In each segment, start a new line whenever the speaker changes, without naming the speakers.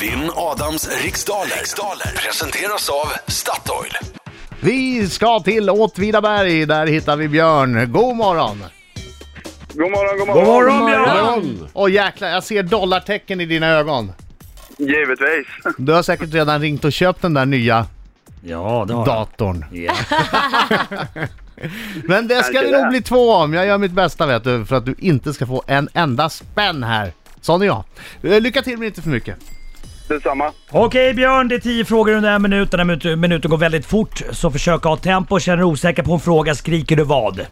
Vinn Adams riksdaler. riksdaler presenteras av Statoil.
Vi ska till Åtvidaberg, där hittar vi Björn. God morgon!
God morgon, god morgon.
God morgon Björn!
Åh oh, jäklar, jag ser dollartecken i dina ögon.
Givetvis.
Du har säkert redan ringt och köpt den där nya
Ja, det har jag.
datorn.
Ja.
Men det ska
Kanske
det
det.
nog bli två om. Jag gör mitt bästa vet du, för att du inte ska få en enda spänn här. Sån är jag. Eh, Lycka till men inte för mycket.
Detsamma.
Okej Björn, det är tio frågor under en minut. Den här minut- minuten går väldigt fort, så försök ha tempo. Känner du osäker på en fråga skriker du vad?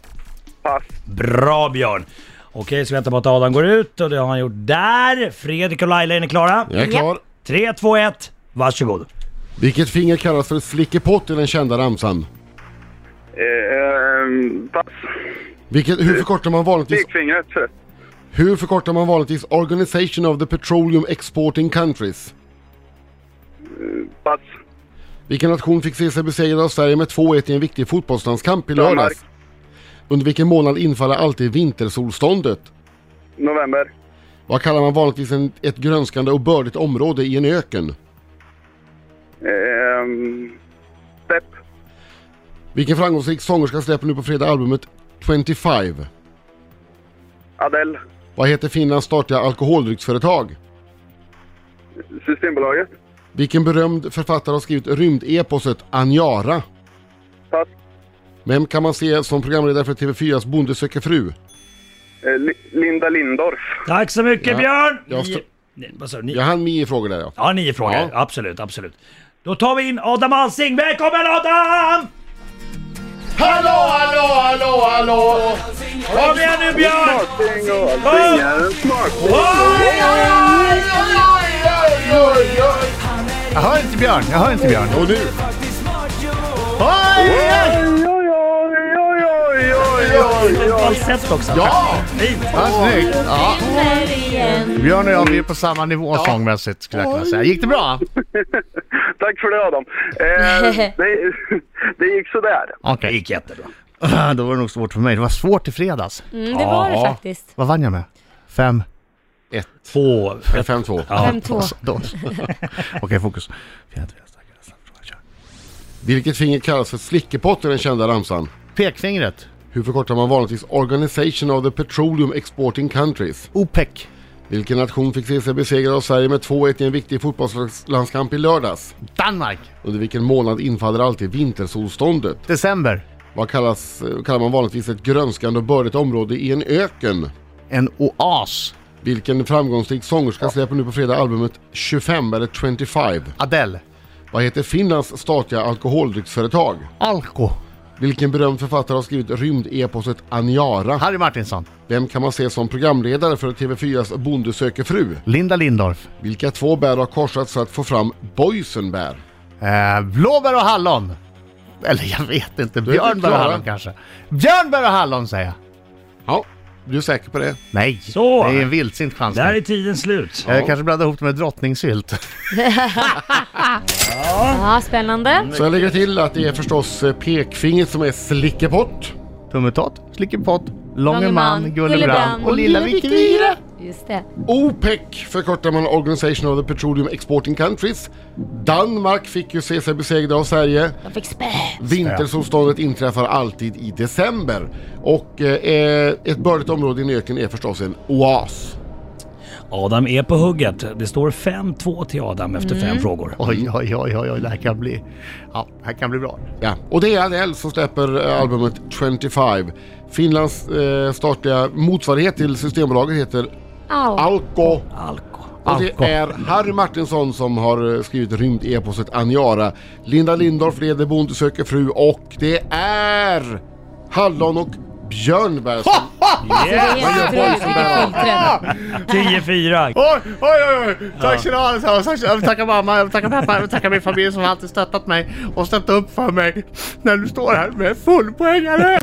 Pass.
Bra Björn! Okej, så väntar på att Adam går ut och det har han gjort där. Fredrik och Laila, är ni klara?
Jag är klar.
Tre, två, ett. varsågod.
Vilket finger kallas för flickepott i den kända ramsan?
Eh, ehm, pass.
Vilket, hur, förkortar man vanligtvis,
Pekfingret.
hur förkortar man vanligtvis Organization of the Petroleum Exporting Countries?
Pass.
Vilken nation fick se sig besegrad av Sverige med 2-1 i en viktig fotbollslandskamp i lördags?
Danmark.
Under vilken månad infaller alltid vintersolståndet?
November.
Vad kallar man vanligtvis en, ett grönskande och bördigt område i en öken?
Ehm, stepp.
Vilken framgångsrik sångerska släpper nu på fredag albumet 25?
Adele.
Vad heter Finlands statliga alkoholdrycksföretag?
Systembolaget.
Vilken berömd författare har skrivit rymdeposet Anjara?
Pass.
Vem kan man se som programledare för TV4s Bonde söker fru?
Eh, Li- Linda Lindorff.
Tack så mycket
Ja.
Björn!
Jag
Nio-
stå-
Nej, Vad sa du? Ni-
Jag hann med i frågor där ja.
Ja, nio frågor.
Ja.
Absolut, absolut. Då tar vi in Adam Alsing. Välkommen Adam!
Hallå, hallå, hallå, hallå!
Kom igen nu Björn!
Smarting och allting. Smarting.
Oj, oj, oj!
Jag hör inte Björn, jag hör inte Björn.
Och nu,
Oj!
Oj, oj, oj, oj, oj, oj, oj,
Ett
oj.
falsett också.
Ja!
Fint.
Ja, snyggt! Ja.
Vinner igen.
Björn och jag vi är på samma nivå sångmässigt skulle jag kunna säga. Gick det bra?
Tack för det, Adam. Eh, det, det gick sådär.
Det
Okej.
gick jättebra.
Då var det nog svårt för mig. Det var svårt i fredags.
Mm, det var det
Ja.
faktiskt.
Vad vann jag med? Fem?
ett,
Två.
fem, två.
Ja.
5-2.
Alltså, då- Okej, fokus. Fjärde, fjärde, starkare, snabbare, kör.
Vilket finger kallas för slickepott i den kända ramsan?
Pekfingret.
Hur förkortar man vanligtvis Organization of the Petroleum Exporting Countries?
OPEC.
Vilken nation fick se sig besegrad av Sverige med 2-1 i en viktig fotbollslandskamp i lördags?
Danmark.
Under vilken månad infaller alltid vintersolståndet?
December.
Vad kallas, kallar man vanligtvis ett grönskande och bördigt område i en öken?
En oas.
Vilken framgångsrik sångerska släpper nu på fredag albumet 25 eller 25?
Adele.
Vad heter Finlands statliga alkoholdrycksföretag?
Alko.
Vilken berömd författare har skrivit rymdeposet Aniara?
Harry Martinsson.
Vem kan man se som programledare för TV4s Bonde söker fru?
Linda Lindorff.
Vilka två bär har korsats för att få fram boysenbär?
Eh, blåbär och hallon. Eller jag vet inte.
är inte
Björnbär och
klar,
hallon
va?
kanske. Björnbär och hallon säger jag.
Ja, du är säker på det?
Nej,
Så.
det är en vildsint chans.
Där är tiden slut.
Jag kanske blandar ihop det med drottningsylt.
Ja, spännande.
Så jag lägger till att det är förstås eh, pekfingret som är slickepott.
Tummetott, slickepott, långe man, gullebrand och lilla Vikivira.
Vikivira. Just det.
OPEC förkortar man Organization of the Petroleum Exporting Countries. Danmark fick ju se sig besegrade av Sverige.
De fick spö.
Vintersolståndet inträffar alltid i december. Och eh, ett bördigt område i en öken är förstås en oas.
Adam är på hugget. Det står 5-2 till Adam efter
Mm.
fem frågor.
Oj, oj, oj, oj, oj, det här kan bli... Ja, det här kan bli bra.
Ja. Och det är Adele som släpper eh, albumet 25. Finlands eh, statliga motsvarighet till Systembolaget heter
Au.
Alko.
Alko.
Och det är Harry Martinsson som har eh, skrivit rymdeposet Aniara. Linda Lindorff leder Bonde söker fru och det är Hallon och Björnberg som
Yeah.
Det är otroligt vilket fullträff.
10-4.
Oj, oj, oj, oj! Tack ska ni ha allesammans. Tack ska- Jag vill tacka mamma, jag vill tacka pappa, jag vill tacka min familj som alltid stöttat mig och ställt upp för mig när du står här med fullpoängare.